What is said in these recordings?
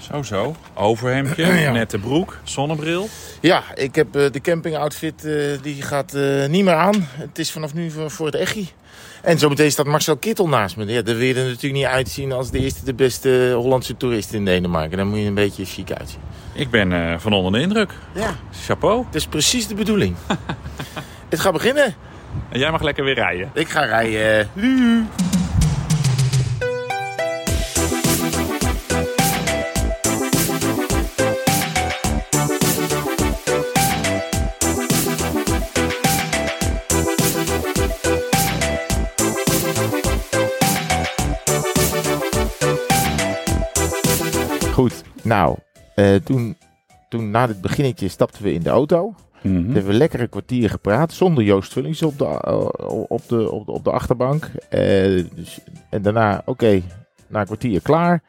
Zo, zo. Overhemdje, nette broek, zonnebril. Ja, ik heb eh, de campingoutfit, eh, die gaat eh, niet meer aan. Het is vanaf nu voor, voor het echi. En zometeen staat Marcel Kittel naast me. Ja, daar wil je er natuurlijk niet uitzien als de eerste de beste Hollandse toerist in Denemarken. Dan moet je een beetje chic uitzien. Ik ben eh, van onder de indruk. Ja, Chapeau. dat is precies de bedoeling. het gaat beginnen. En jij mag lekker weer rijden. Ik ga rijden. Goed. Nou, eh, toen, toen na dit beginnetje stapten we in de auto. Hm? We hebben lekker een kwartier gepraat zonder Joost Vullings op de, eh, op de, op de, op de achterbank. Eh, dus, en daarna, oké, na een kwartier klaar.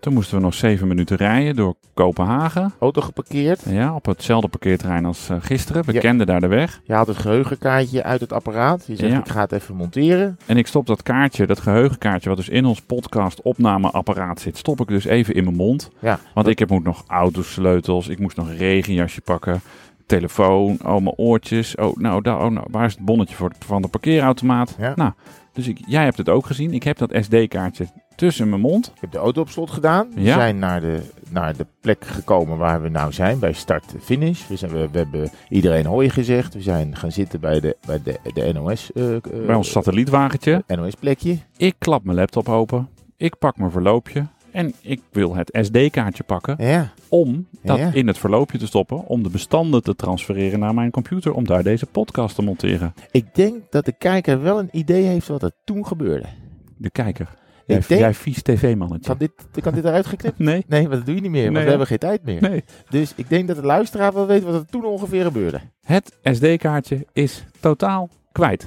Toen moesten we nog zeven minuten rijden door Kopenhagen. Auto geparkeerd. Ja, op hetzelfde parkeerterrein als eh, gisteren. We Ja. kenden daar de weg. Je haalt het geheugenkaartje uit het apparaat. Je zegt, Ja. ik ga het even monteren. En ik stop dat kaartje, dat geheugenkaartje, wat dus in ons podcast opnameapparaat zit, stop ik dus even in mijn mond. Ja, Want ik heb moet nog autosleutels, ik moest nog een regenjasje pakken, telefoon, oh mijn oortjes, oh nou, daar, oh, nou waar is het bonnetje voor, van de parkeerautomaat? Ja. Nou, dus ik, jij hebt het ook gezien, ik heb dat SD-kaartje tussen mijn mond. ik heb de auto op slot gedaan. We Ja. zijn naar de, naar de plek gekomen waar we nou zijn, bij start-finish. We, zijn- we, we hebben iedereen hooi gezegd. We zijn gaan zitten bij de, bij de, de NOS, eh, eh, bij ons satellietwagentje. NOS-plekje. Ik klap mijn laptop open. Ik pak mijn verloopje. En ik wil het SD-kaartje pakken Ja. om dat Ja. in het verloopje te stoppen. Om de bestanden te transfereren naar mijn computer. Om daar deze podcast te monteren. Ik denk dat de kijker wel een idee heeft wat er toen gebeurde. De kijker. Jij, denk- jij vies tv-mannetje. Kan dit, kan dit eruit geknipt? Nee, Nee, want dat doe je niet meer, want Nee, we hè? hebben geen tijd meer. nee. Dus ik denk dat de luisteraar wel weet wat er toen ongeveer gebeurde. Het SD-kaartje is totaal kwijt.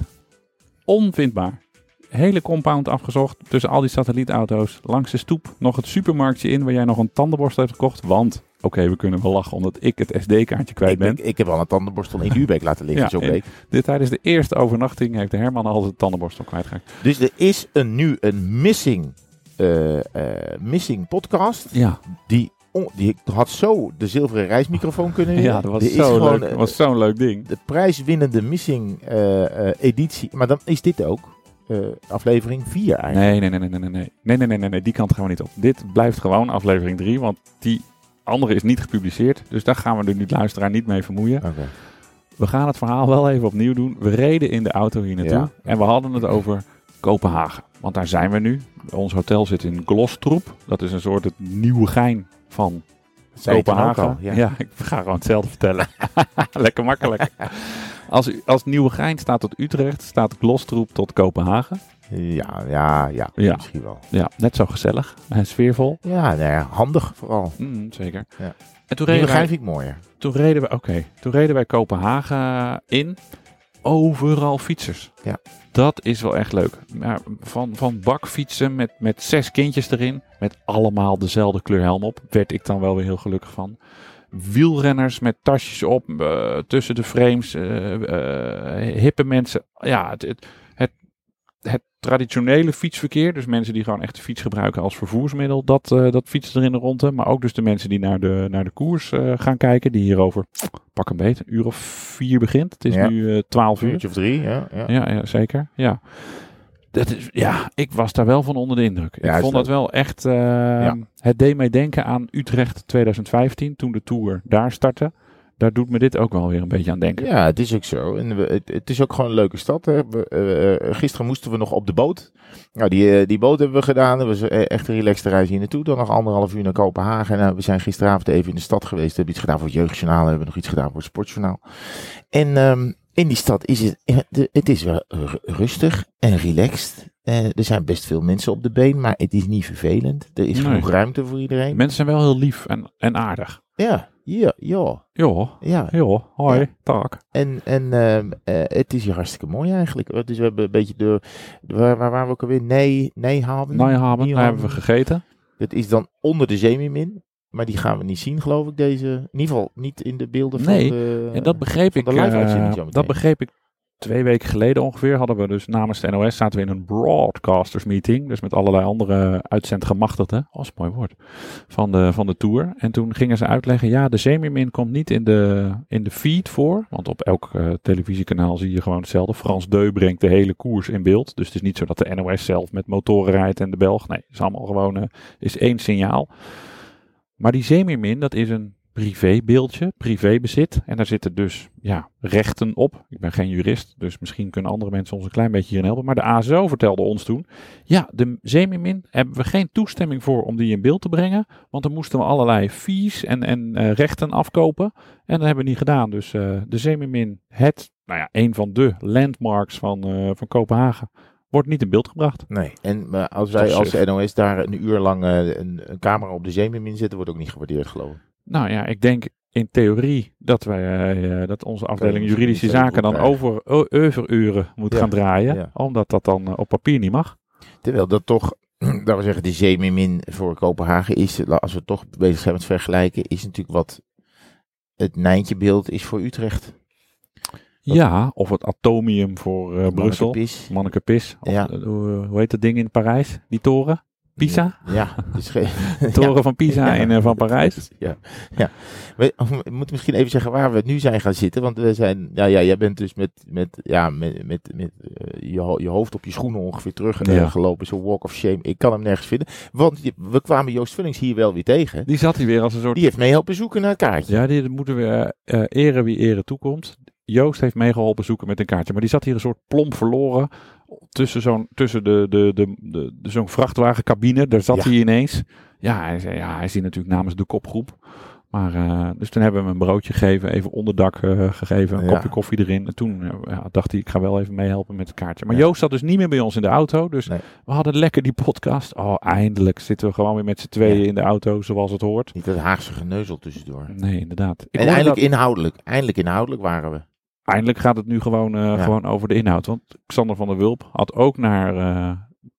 Onvindbaar. Hele compound afgezocht tussen al die satellietauto's. Langs de stoep nog het supermarktje in waar jij nog een tandenborstel hebt gekocht. Want, oké, we kunnen wel lachen omdat ik het SD-kaartje kwijt Ik, ben. ik, ik heb al een tandenborstel in Duurbeek laten liggen Ja, zo'n en- week. Dit tijdens de eerste overnachting heeft de Herman al zijn tandenborstel kwijtgeraakt. Dus er is een, nu een missing, eh, eh, missing podcast. Ja, Die, on- die had zo de zilveren reismicrofoon kunnen winnen. ja dat was Er is zo'n gewoon, leuk, eh, was zo'n leuk ding. de prijswinnende missing eh, eh, editie. Maar dan is dit ook eh, aflevering 4 eigenlijk. Nee, nee, nee, nee, nee, nee, nee, nee, nee, nee, nee, nee, die kant gaan we niet op. Dit blijft gewoon aflevering 3, want die andere is niet gepubliceerd. Dus daar gaan we de niet- luisteraar niet mee vermoeien. Oké. We gaan het verhaal wel even opnieuw doen. We reden in de auto hier naartoe Ja. en we hadden het over Kopenhagen. Want daar zijn we nu. Ons hotel zit in Glostroep. Dat is een soort het Nieuwegein van Zei je toen ook Kopenhagen. al, ja. ja. ik ga gewoon hetzelfde vertellen. Lekker makkelijk. Als, als Nieuwegein staat tot Utrecht, staat Glostroep tot Kopenhagen. Ja, ja, ja, Ja. Misschien wel. Ja, net zo gezellig en sfeervol. Ja, nou ja, handig vooral. Mm, zeker. Ja. En toen reden, Die wij, begrijp ik mooier. toen, reden wij, oké, toen reden wij Kopenhagen in. Overal fietsers. Ja. Dat is wel echt leuk. Maar van, van bakfietsen met, met zes kindjes erin. Met allemaal dezelfde kleur helm op. Werd ik dan wel weer heel gelukkig van. wielrenners met tasjes op, eh, tussen de frames, eh, eh, hippe mensen. Ja, het, het, het, het traditionele fietsverkeer, dus mensen die gewoon echt de fiets gebruiken als vervoersmiddel, dat, eh, dat fietst er in de ronde. Maar ook dus de mensen die naar de, naar de koers eh, gaan kijken, die hierover, pak een beet, een uur of vier begint. Het is Ja. nu eh, 12 uur. Uurtje of drie, ja. Mhm. ja. Ja, ja zeker. Ja. Dat is, ja, ik was daar wel van onder de indruk. Ja, ik is vond dat leuk. wel echt... eh, Het deed mij denken aan Utrecht 2015, toen de Tour daar startte. Daar doet me dit ook wel weer een beetje aan denken. Ja, het is ook zo. En we- het, het is ook gewoon een leuke stad. Hè. We, eh, eh, gisteren moesten we nog op de boot. Nou, die, eh, die boot hebben we gedaan. Dat was eh, echt een relaxte reis hier naartoe. Dan nog anderhalf uur naar Kopenhagen. Nou, we zijn gisteravond even in de stad geweest. We hebben iets gedaan voor het jeugdjournaal. We hebben nog iets gedaan voor het sportjournaal. En ehm, in die stad is het, eh, de- het is wel ru- rustig en relaxed. Eh, er zijn best veel mensen op de been, maar het is niet vervelend. Er is Nee. genoeg ruimte voor iedereen. Mensen zijn wel heel lief en, en aardig. Ja, ja, ja, Joh, ja. joh, hoi, Ja. tak. En, en ehm, eh, het is hier hartstikke mooi eigenlijk. Dus we hebben een beetje de... Waar, waar waren we ook alweer? Nee, Nijhaven, Nijhaven. daar Nijhaven. hebben we gegeten. Dat is dan onder de zeemermin. Maar die gaan we niet zien, geloof ik, deze... In ieder geval niet in de beelden Nee, van de... En dat begreep van ik. de live-uitzending eh, zometeen. dat begreep ik twee weken geleden ongeveer hadden we dus namens de NOS zaten we in een broadcasters meeting. Dus met allerlei andere uitzendgemachtigden. Oh, dat is een mooi woord. Van de, van de tour. En toen gingen ze uitleggen, ja, de zeemeermin komt niet in de, in de feed voor. Want op elk eh, televisiekanaal zie je gewoon hetzelfde. Frans Deu brengt de hele koers in beeld. Dus het is niet zo dat de NOS zelf met motoren rijdt en de Belg. Nee, het is allemaal gewoon eh, is één signaal. Maar die zeemeermin, dat is een privébeeldje, privébezit. En daar zitten dus ja, rechten op. Ik ben geen jurist, dus misschien kunnen andere mensen ons een klein beetje hierin helpen. Maar de ASO vertelde ons toen, ja, de zeemermin hebben we geen toestemming voor om die in beeld te brengen. Want dan moesten we allerlei fees en, en eh, rechten afkopen. En dat hebben we niet gedaan. Dus eh, de zeemermin, het, nou ja, een van de landmarks van, eh, van Kopenhagen, wordt niet in beeld gebracht. Nee. En maar als Dat wij is als suf. NOS daar een uur lang eh, een, een camera op de zeemermin zetten, wordt ook niet gewaardeerd, geloof ik. Nou ja, ik denk in theorie dat, wij, eh, eh, dat onze afdeling misschien juridische niet zo zaken goed dan over o- overuren moet Ja, gaan draaien. ja. Omdat dat dan eh, op papier niet mag. Terwijl dat toch, laten we zeggen, de zeemermin voor Kopenhagen is, la- als we toch bezig zijn met vergelijken, is natuurlijk wat het Nijntjebeeld is voor Utrecht. Dat- Ja, of het atomium voor eh, Brussel. Mannekepis. Manneke Pis. Of, Ja. eh, hoe, hoe heet dat ding in Parijs? Die toren? Pisa? Ja, dus ge- De toren van Pisa Ja. en eh, van Parijs. Ja, ja. We, we moeten misschien even zeggen waar we nu zijn gaan zitten. Want we zijn, ja, ja, jij bent dus met, met, ja, met, met, met eh, je, ho- je hoofd op je schoenen ongeveer teruggelopen. Ja. gelopen Zo'n walk of shame. Ik kan hem nergens vinden. Want je- we kwamen Joost Vullings hier wel weer tegen. Die zat hier weer als een soort... Die heeft mee helpen zoeken naar een kaartje. Ja, die moeten we eh, eh, eren wie eren toekomt. Joost heeft meegeholpen zoeken met een kaartje. Maar die zat hier een soort plomp verloren. Tussen zo'n tussen de, de, de, de, de- zo'n vrachtwagencabine. Daar zat Ja. hij ineens. Ja, hij zei, ja, hij is hier natuurlijk namens de kopgroep. Maar, eh, dus toen hebben we hem een broodje gegeven, even onderdak eh, gegeven, een Ja. kopje koffie erin. En toen eh, ja, dacht hij, ik ga wel even meehelpen met het kaartje. Maar Ja. Joost zat dus niet meer bij ons in de auto. Dus Nee. we hadden lekker die podcast. Oh, eindelijk zitten we gewoon weer met z'n tweeën Ja. in de auto, zoals het hoort. Niet dat Haagse geneuzel tussendoor. Nee, inderdaad. Ik en hoorde eindelijk dat- inhoudelijk. Eindelijk inhoudelijk waren we. eindelijk gaat het nu gewoon, eh, Ja. gewoon over de inhoud. Want Xander van der Wulp had ook naar eh,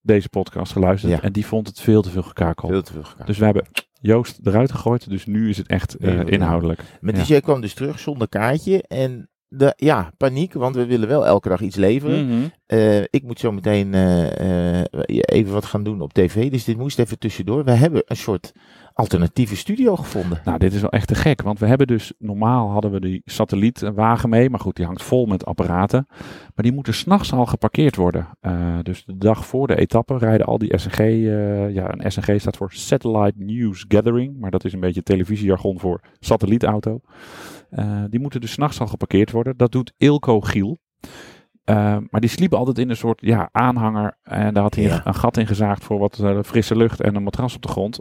deze podcast geluisterd. Ja. En die vond het veel te veel gekakel. Veel te veel gegaan. Dus we hebben Joost eruit gegooid. Dus nu is het echt eh, Nee, wat- inhoudelijk. Maar Ja. dus jij kwam dus terug zonder kaartje. En de, ja, paniek. Want we willen wel elke dag iets leveren. Hmm. Eh, ik moet zo meteen eh, eh, even wat gaan doen op tv. Dus dit moest even tussendoor. We hebben een soort alternatieve studio gevonden. Nou, dit is wel echt te gek. Want we hebben dus, normaal hadden we die satellietwagen mee. Maar goed, die hangt vol met apparaten. Maar die moeten s'nachts al geparkeerd worden. Eh, dus de dag voor de etappe rijden al die SNG. eh, ja, een SNG staat voor Satellite News Gathering. Maar dat is een beetje televisiejargon voor satellietauto. Eh, die moeten dus s'nachts al geparkeerd worden. Dat doet Ilko Giel. Eh, maar die sliepen altijd in een soort ja, aanhanger. En daar had hij Ja. een gat in gezaagd voor wat eh, frisse lucht en een matras op de grond.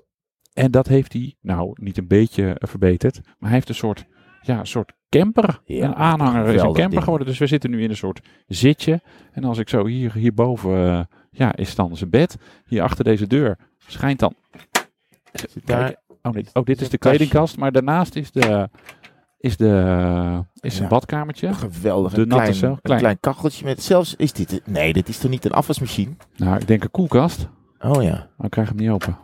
En dat heeft hij, nou, niet een beetje eh, verbeterd. Maar hij heeft een soort, ja, een soort camper. Ja, een aanhanger is een geweldig camper ding. geworden. Dus we zitten nu in een soort zitje. En als ik zo hier, hierboven, eh, ja, is dan zijn bed. Hier achter deze deur schijnt dan... daar- Kijk, oh, nee, is- oh, dit is is de een kastje. kledingkast. Maar daarnaast is de... Is, de, is een Ja. badkamertje. Geweldig. De een, natte klein, cel, een klein. klein kacheltje met. Zelfs is dit. Nee, dit is toch niet een afwasmachine? Nou, ik denk een koelkast. Oh ja. Maar ik krijg hem niet open.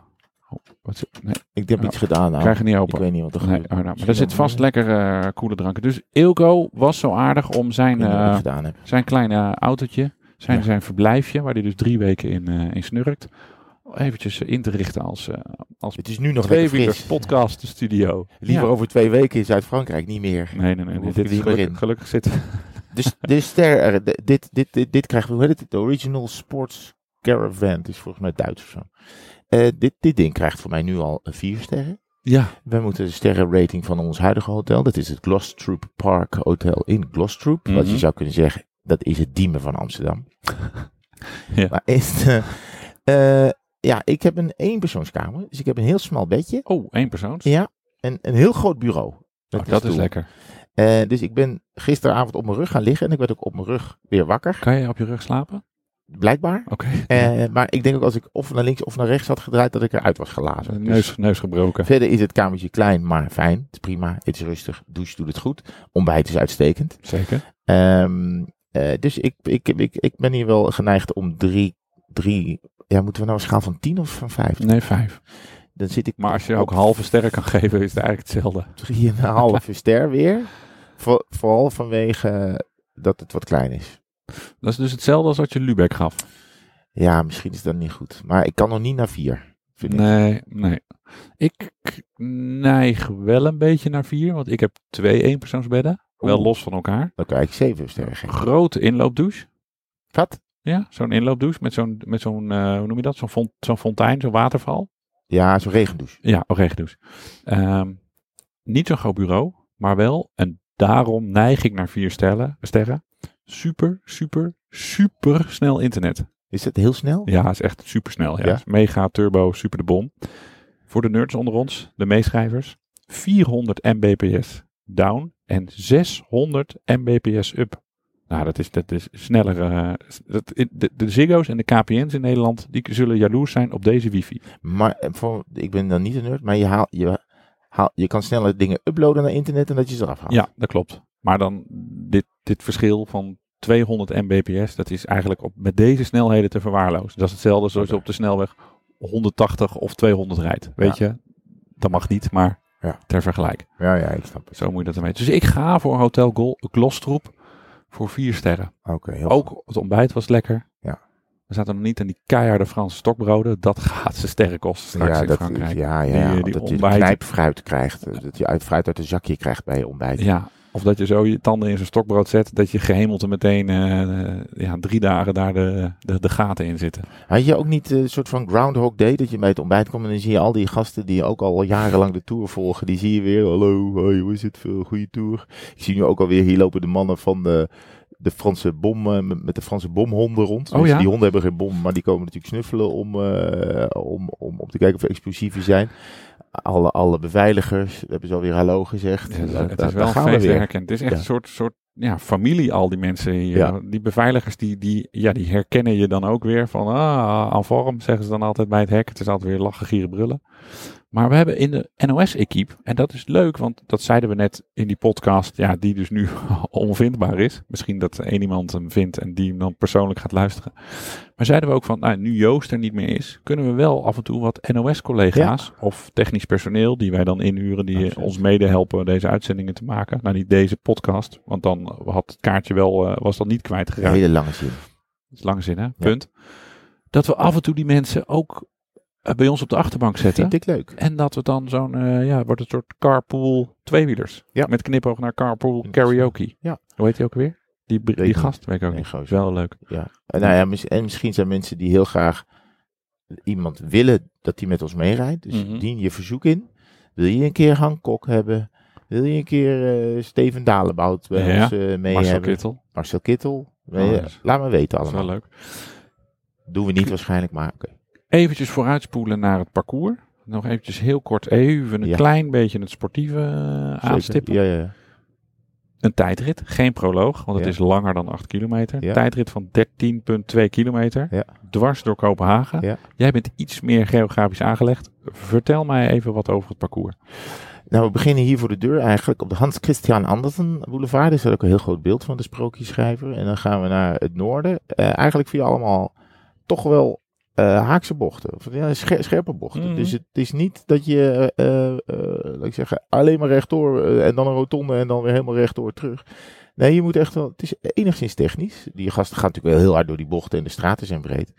Oh, wat is- nee, ik Ik heb Ja. iets gedaan. Nou. krijg hem niet Ik open. weet niet wat er Nee, gebeurt. oh, nou, maar Misschien er zit dat- vast lekker eh, koele dranken. Dus Ilko was zo aardig om Ik zijn, weet niet wat ik eh, gedaan heb. zijn kleine eh, autootje, zijn, Ja. zijn verblijfje, waar hij dus drie weken in, eh, in snurkt, eventjes eh, in te richten als, eh als Het is nu nog twee lekker fris. podcast podcaststudio. Liever Ja. over twee weken in Zuid-Frankrijk, niet meer. Nee, nee, nee. Hoef ik dit is niet meer gelukkig, in. gelukkig zit. Dus de ster, de- dit, dit, dit, dit krijgen we, hoe heet het? De Original Sports Caravan. Het is volgens mij Duits of zo. Eh, dit, dit ding krijgt voor mij nu al eh, vier sterren. Ja, Wij moeten de sterrenrating van ons huidige hotel, dat is het Glostrup Park Hotel in Glostrup. Wat Mhm. je zou kunnen zeggen, dat is het Diemen van Amsterdam. Ja. Maar is, eh, eh, ja, ik heb een eenpersoonskamer, dus ik heb een heel smal bedje oh, één persoon. Ja. en een heel groot bureau. Dat, Met een dat is stoel. lekker. Eh, dus ik ben gisteravond op mijn rug gaan liggen en ik werd ook op mijn rug weer wakker, Kan je op je rug slapen? blijkbaar. Oké. Eh, maar ik denk ook als ik of naar links of naar rechts had gedraaid, dat ik eruit was Een gelazen. Dus neus, neus gebroken. verder is het kamertje klein, maar fijn. Het is prima, het is rustig, douche doet het goed. Ontbijt is uitstekend. Zeker. Ehm, eh, dus ik, ik, ik, ik ben hier wel geneigd om drie, drie... Ja, moeten we nou een schaal van tien of van vijf? Nee, vijf. Dan zit ik Maar als je op ook halve sterren kan geven, is het eigenlijk hetzelfde. drieënhalve ster weer. Voor, vooral vanwege eh, dat het wat klein is. Dat is dus hetzelfde als wat je Lübeck gaf. Ja, misschien is dat niet goed. Maar ik kan nog niet naar vier. Vind ik. Nee, nee. Ik neig wel een beetje naar vier, want ik heb twee eenpersoonsbedden. Wel Oeh. los van elkaar. Dan krijg ik zeven sterren. geven. Grote inloopdouche. Wat? Ja, zo'n inloopdouche met zo'n, met zo'n eh, hoe noem je dat? Zo'n, font, zo'n fontein, zo'n waterval. Ja, zo'n regendouche. Ja, oh, regendouche. Ehm, niet zo'n groot bureau, maar wel. En daarom neig ik naar vier sterren. sterren. Super, super, super snel internet. Is dat heel snel? Ja, is echt super snel. Ja. Ja? Is Mega, turbo, super de bom. Voor de nerds onder ons, de meeschrijvers. 400 mbps down en 600 mbps up. Nou, dat is, dat is sneller. eh, dat, de, de Ziggo's en de KPN's in Nederland, die zullen jaloers zijn op deze wifi. Maar eh, voor, ik ben dan niet een nerd, maar je, haal, je, haal, je kan sneller dingen uploaden naar internet en dat je ze eraf haalt. Ja, dat klopt. Maar dan dit, dit verschil van 200 mbps, dat is eigenlijk op, met deze snelheden te verwaarlozen. Dat is hetzelfde als als je op de snelweg 180 of 200 rijdt. Weet je, dat mag niet, maar Ja. ter vergelijk. ja, ja, ik snap het. Zo moet je dat ermee. Dus ik ga voor Hotel Gol Glostroep voor vier sterren. Oké, heel goed. Ook het ontbijt was lekker. Ja. We zaten nog niet aan die keiharde Franse stokbroden. Dat gaat ze sterren kosten straks ja, in dat, Frankrijk. ja, ja, Die, eh, die dat je ontbijten. knijpfruit krijgt. eh, Dat je uit, fruit uit een zakje krijgt bij je ontbijt. Ja, of dat je zo je tanden in zo'n stokbrood zet, dat je gehemelte meteen eh, ja, drie dagen daar de, de, de gaten in zitten. Had je ook niet eh, een soort van Groundhog Day, dat je bij het ontbijt komt en dan zie je al die gasten die ook al jarenlang de tour volgen, die zie je weer, hallo, hoi, hoe is het, veel goede tour. Ik zie nu ook alweer, hier lopen de mannen van de, de Franse bom, eh, met met de Franse bomhonden rond. Oh Dus ja? Die honden hebben geen bom, maar die komen natuurlijk snuffelen om, eh, om, om, om te kijken of er explosieven zijn. Alle, alle beveiligers hebben ze alweer hallo gezegd. het is, Da- het da- is wel daar een gaan we feest weer. herkend. Het is echt Ja. een soort, soort ja, familie, al die mensen hier. Ja. Die beveiligers, die, die, ja, die herkennen je dan ook weer van, ah, en vorm, zeggen ze dan altijd bij het hek. Het is altijd weer lachen, gieren, brullen. Maar we hebben in de NOS-equipe, en dat is leuk, want dat zeiden we net in die podcast, ja, die dus nu onvindbaar is. Misschien dat één iemand hem vindt en die hem dan persoonlijk gaat luisteren. Maar zeiden we ook van, nou, nu Joost er niet meer is, kunnen we wel af en toe wat NOS-collega's of technisch personeel die wij dan inhuren, die Absoluut. ons mede helpen deze uitzendingen te maken. Nou, niet deze podcast, want dan had het kaartje wel, eh, was dan niet Een kwijtgeraakt. hele lange zin. Dat is lang zin, hè? Punt. Dat we af en toe die mensen ook eh, bij ons op de achterbank zetten. Vind ik leuk. En dat we dan zo'n, eh, ja, wordt een soort carpool tweewielers. Ja. Met knipoog naar carpool Interessant. karaoke. Ja. Hoe heet die ook weer? Die, br- die niet. gast, weet ik ook Nee, niet. gozer. Is wel leuk. En, nou ja, mis- en misschien zijn mensen die heel graag iemand willen dat die met ons meerijdt. Dus Mhm. dien je verzoek in. Wil je een keer Hank Kok hebben? Wil je een keer eh, Steven Dalenboud bij Ja, ons eh, mee Marcel hebben? Kittel. Marcel Kittel. Wil Oh, je- yes. Laat me weten Dat is wel allemaal. leuk. Doen we niet waarschijnlijk, maar oké. Eventjes vooruitspoelen naar het parcours. Nog eventjes heel kort even een Ja. klein beetje het sportieve eh, Zeker. aanstippen. Ja, ja, ja. Een tijdrit, geen proloog, want het Ja. is langer dan 8 kilometer. Ja. Tijdrit van 13,2 kilometer, Ja. dwars door Kopenhagen. Ja. Jij bent iets meer geografisch aangelegd. Vertel mij even wat over het parcours. Nou, we beginnen hier voor de deur eigenlijk op de Hans Christian Andersen Boulevard. Daar staat ook een heel groot beeld van de sprookjesschrijver. En dan gaan we naar het noorden. Eh, eigenlijk via allemaal toch wel eh, haakse bochten. Of, ja, scher- scherpe bochten. Mhm. Dus het is niet dat je, eh, eh, laat ik zeggen, alleen maar rechtdoor eh, en dan een rotonde en dan weer helemaal rechtdoor terug. Nee, je moet echt wel, het is enigszins technisch. Die gasten gaan natuurlijk wel heel hard door die bochten en de straten zijn breed.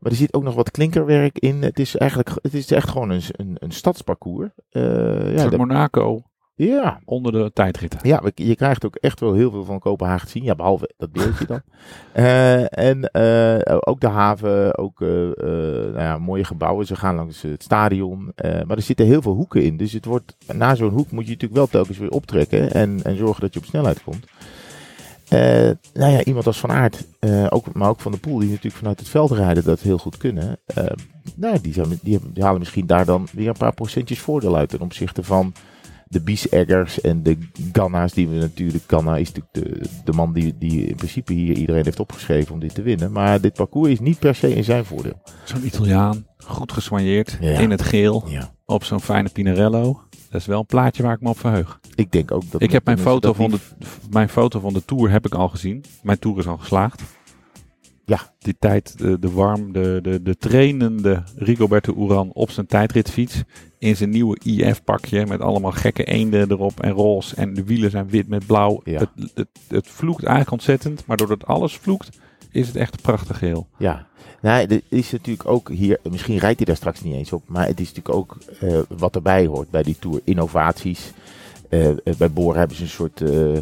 Maar er zit ook nog wat klinkerwerk in. Het is eigenlijk, het is echt gewoon een, een, een stadsparcours. Eh, Een ja, soort dat- Monaco ja, onder de tijdritten. ja, we- je krijgt ook echt wel heel veel van Kopenhagen te zien. Ja, behalve dat beeldje dan. Eh, en eh, ook de haven, ook eh, eh, nou ja, mooie gebouwen. Ze gaan langs het stadion. eh, maar er zitten heel veel hoeken in. Dus het wordt, na zo'n hoek moet je natuurlijk wel telkens weer optrekken. En, en zorgen dat je op snelheid komt. Eh, nou ja, iemand als Van Aert, eh, ook, maar ook Van de Poel, die natuurlijk vanuit het veld rijden dat heel goed kunnen. eh, nou ja, die, zijn, die, hebben- die halen misschien daar dan weer een paar procentjes voordeel uit ten opzichte van de Bieseggers en de Ganna's die we natuurlijk... Ganna is natuurlijk de, de man die, die in principe hier iedereen heeft opgeschreven om dit te winnen. Maar dit parcours is niet per se in zijn voordeel. Zo'n Italiaan, goed geswanjeerd, Ja. in het geel, Ja. op zo'n fijne Pinarello. Dat is wel een plaatje waar ik me op verheug. Ik denk ook dat... Ik heb mijn mensen foto, dat van niet- de, mijn foto van de Tour heb ik al gezien. Mijn Tour is al geslaagd. Ja. Die tijd, de, de warm, de, de, de trainende Rigoberto Uran op zijn tijdritfiets. In zijn nieuwe IF-pakje met allemaal gekke eenden erop en roze. En de wielen zijn wit met blauw. Ja. Het, het, het vloekt eigenlijk ontzettend. Maar doordat alles vloekt, is het echt prachtig geel. Ja, nee, er is natuurlijk ook hier, misschien rijdt hij daar straks niet eens op, maar het is natuurlijk ook eh, wat erbij hoort bij die tour. Innovaties. Eh, eh, bij Boren hebben ze een soort eh,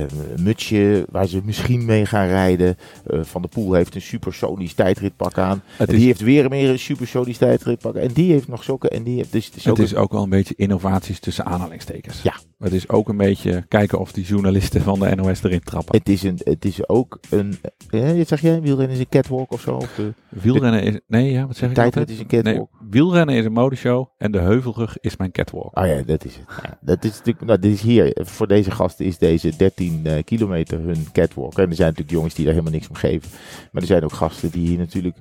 eh, mutsje waar ze misschien mee gaan rijden. Eh, Van der Poel heeft een supersonisch tijdritpak aan. Het En is, die heeft weer meer een supersonisch tijdritpak. En die heeft nog sokken. En die heeft dus de het sokken. is ook wel een beetje innovaties tussen aanhalingstekens. Ja. Het is ook een beetje kijken of die journalisten van de NOS erin trappen. Het is, een, het is ook een. Eh, zeg jij, wielrennen is een catwalk of zo? Of de Wielrennen is... Nee, ja, wat zeg ik altijd? tijdrit is een catwalk. Nee, wielrennen is een modeshow en de heuvelrug is mijn catwalk. Ah ja, dat is het. Ja, dat is natuurlijk, nou, dit is hier. Voor deze gasten is deze 13 eh, kilometer hun catwalk. En er zijn natuurlijk jongens die daar helemaal niks om geven. Maar er zijn ook gasten die hier natuurlijk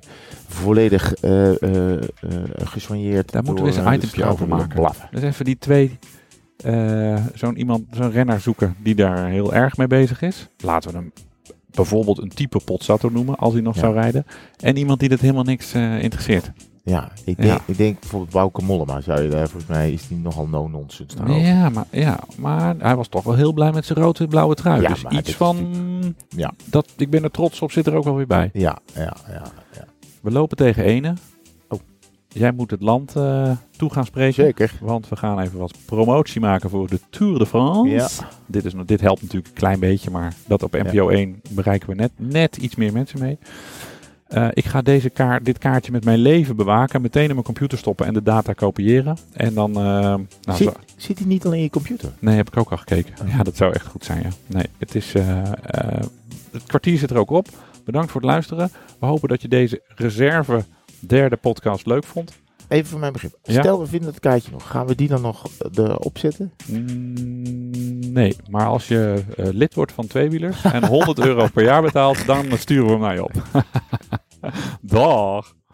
volledig eh eh, eh, gesoigneerd. Daar moeten we eens door, een eh, de itempje straten over willen maken. blaffen. Dus even die twee, eh, zo'n iemand, zo'n renner zoeken die daar heel erg mee bezig is. Laten we hem bijvoorbeeld een type Pozzato noemen, als hij nog Ja. zou rijden. En iemand die dat helemaal niks eh, interesseert. Ja, ik denk, Ja. Ik denk bijvoorbeeld Bouke Mollema zou je daar volgens mij is die nogal no nonsense daarover. Ja maar, ja, maar hij was toch wel heel blij met zijn rood-blauwe trui. Ja, dus maar dit iets is van, Ja. dat, ik ben er trots op, zit er ook wel weer bij. Ja, ja, ja, ja. We lopen tegen ene. Oh. Jij moet het land eh, toe gaan spreken. Zeker. Want we gaan even wat promotie maken voor de Tour de France. Ja. Dit, is, nog- dit helpt natuurlijk een klein beetje, maar dat op NPO 1 bereiken we net, net iets meer mensen mee. Eh, ik ga deze kaart, dit kaartje met mijn leven bewaken, meteen in mijn computer stoppen en de data kopiëren. En dan. eh, nou, zit, zo- zit die niet al in je computer? nee, heb ik ook al gekeken. Oh. Ja, dat zou echt goed zijn. Ja. Nee, het, is, eh, eh, het kwartier zit er ook op. Bedankt voor het luisteren. We hopen dat je deze reserve derde podcast leuk vond. Even voor mijn begrip. Ja. Stel, we vinden het kaartje nog. Gaan we die dan nog eh, erop zetten? Mm, Nee, maar als je eh, lid wordt van Tweewielers en 100 euro per jaar betaalt, dan sturen we hem naar je op. Dag!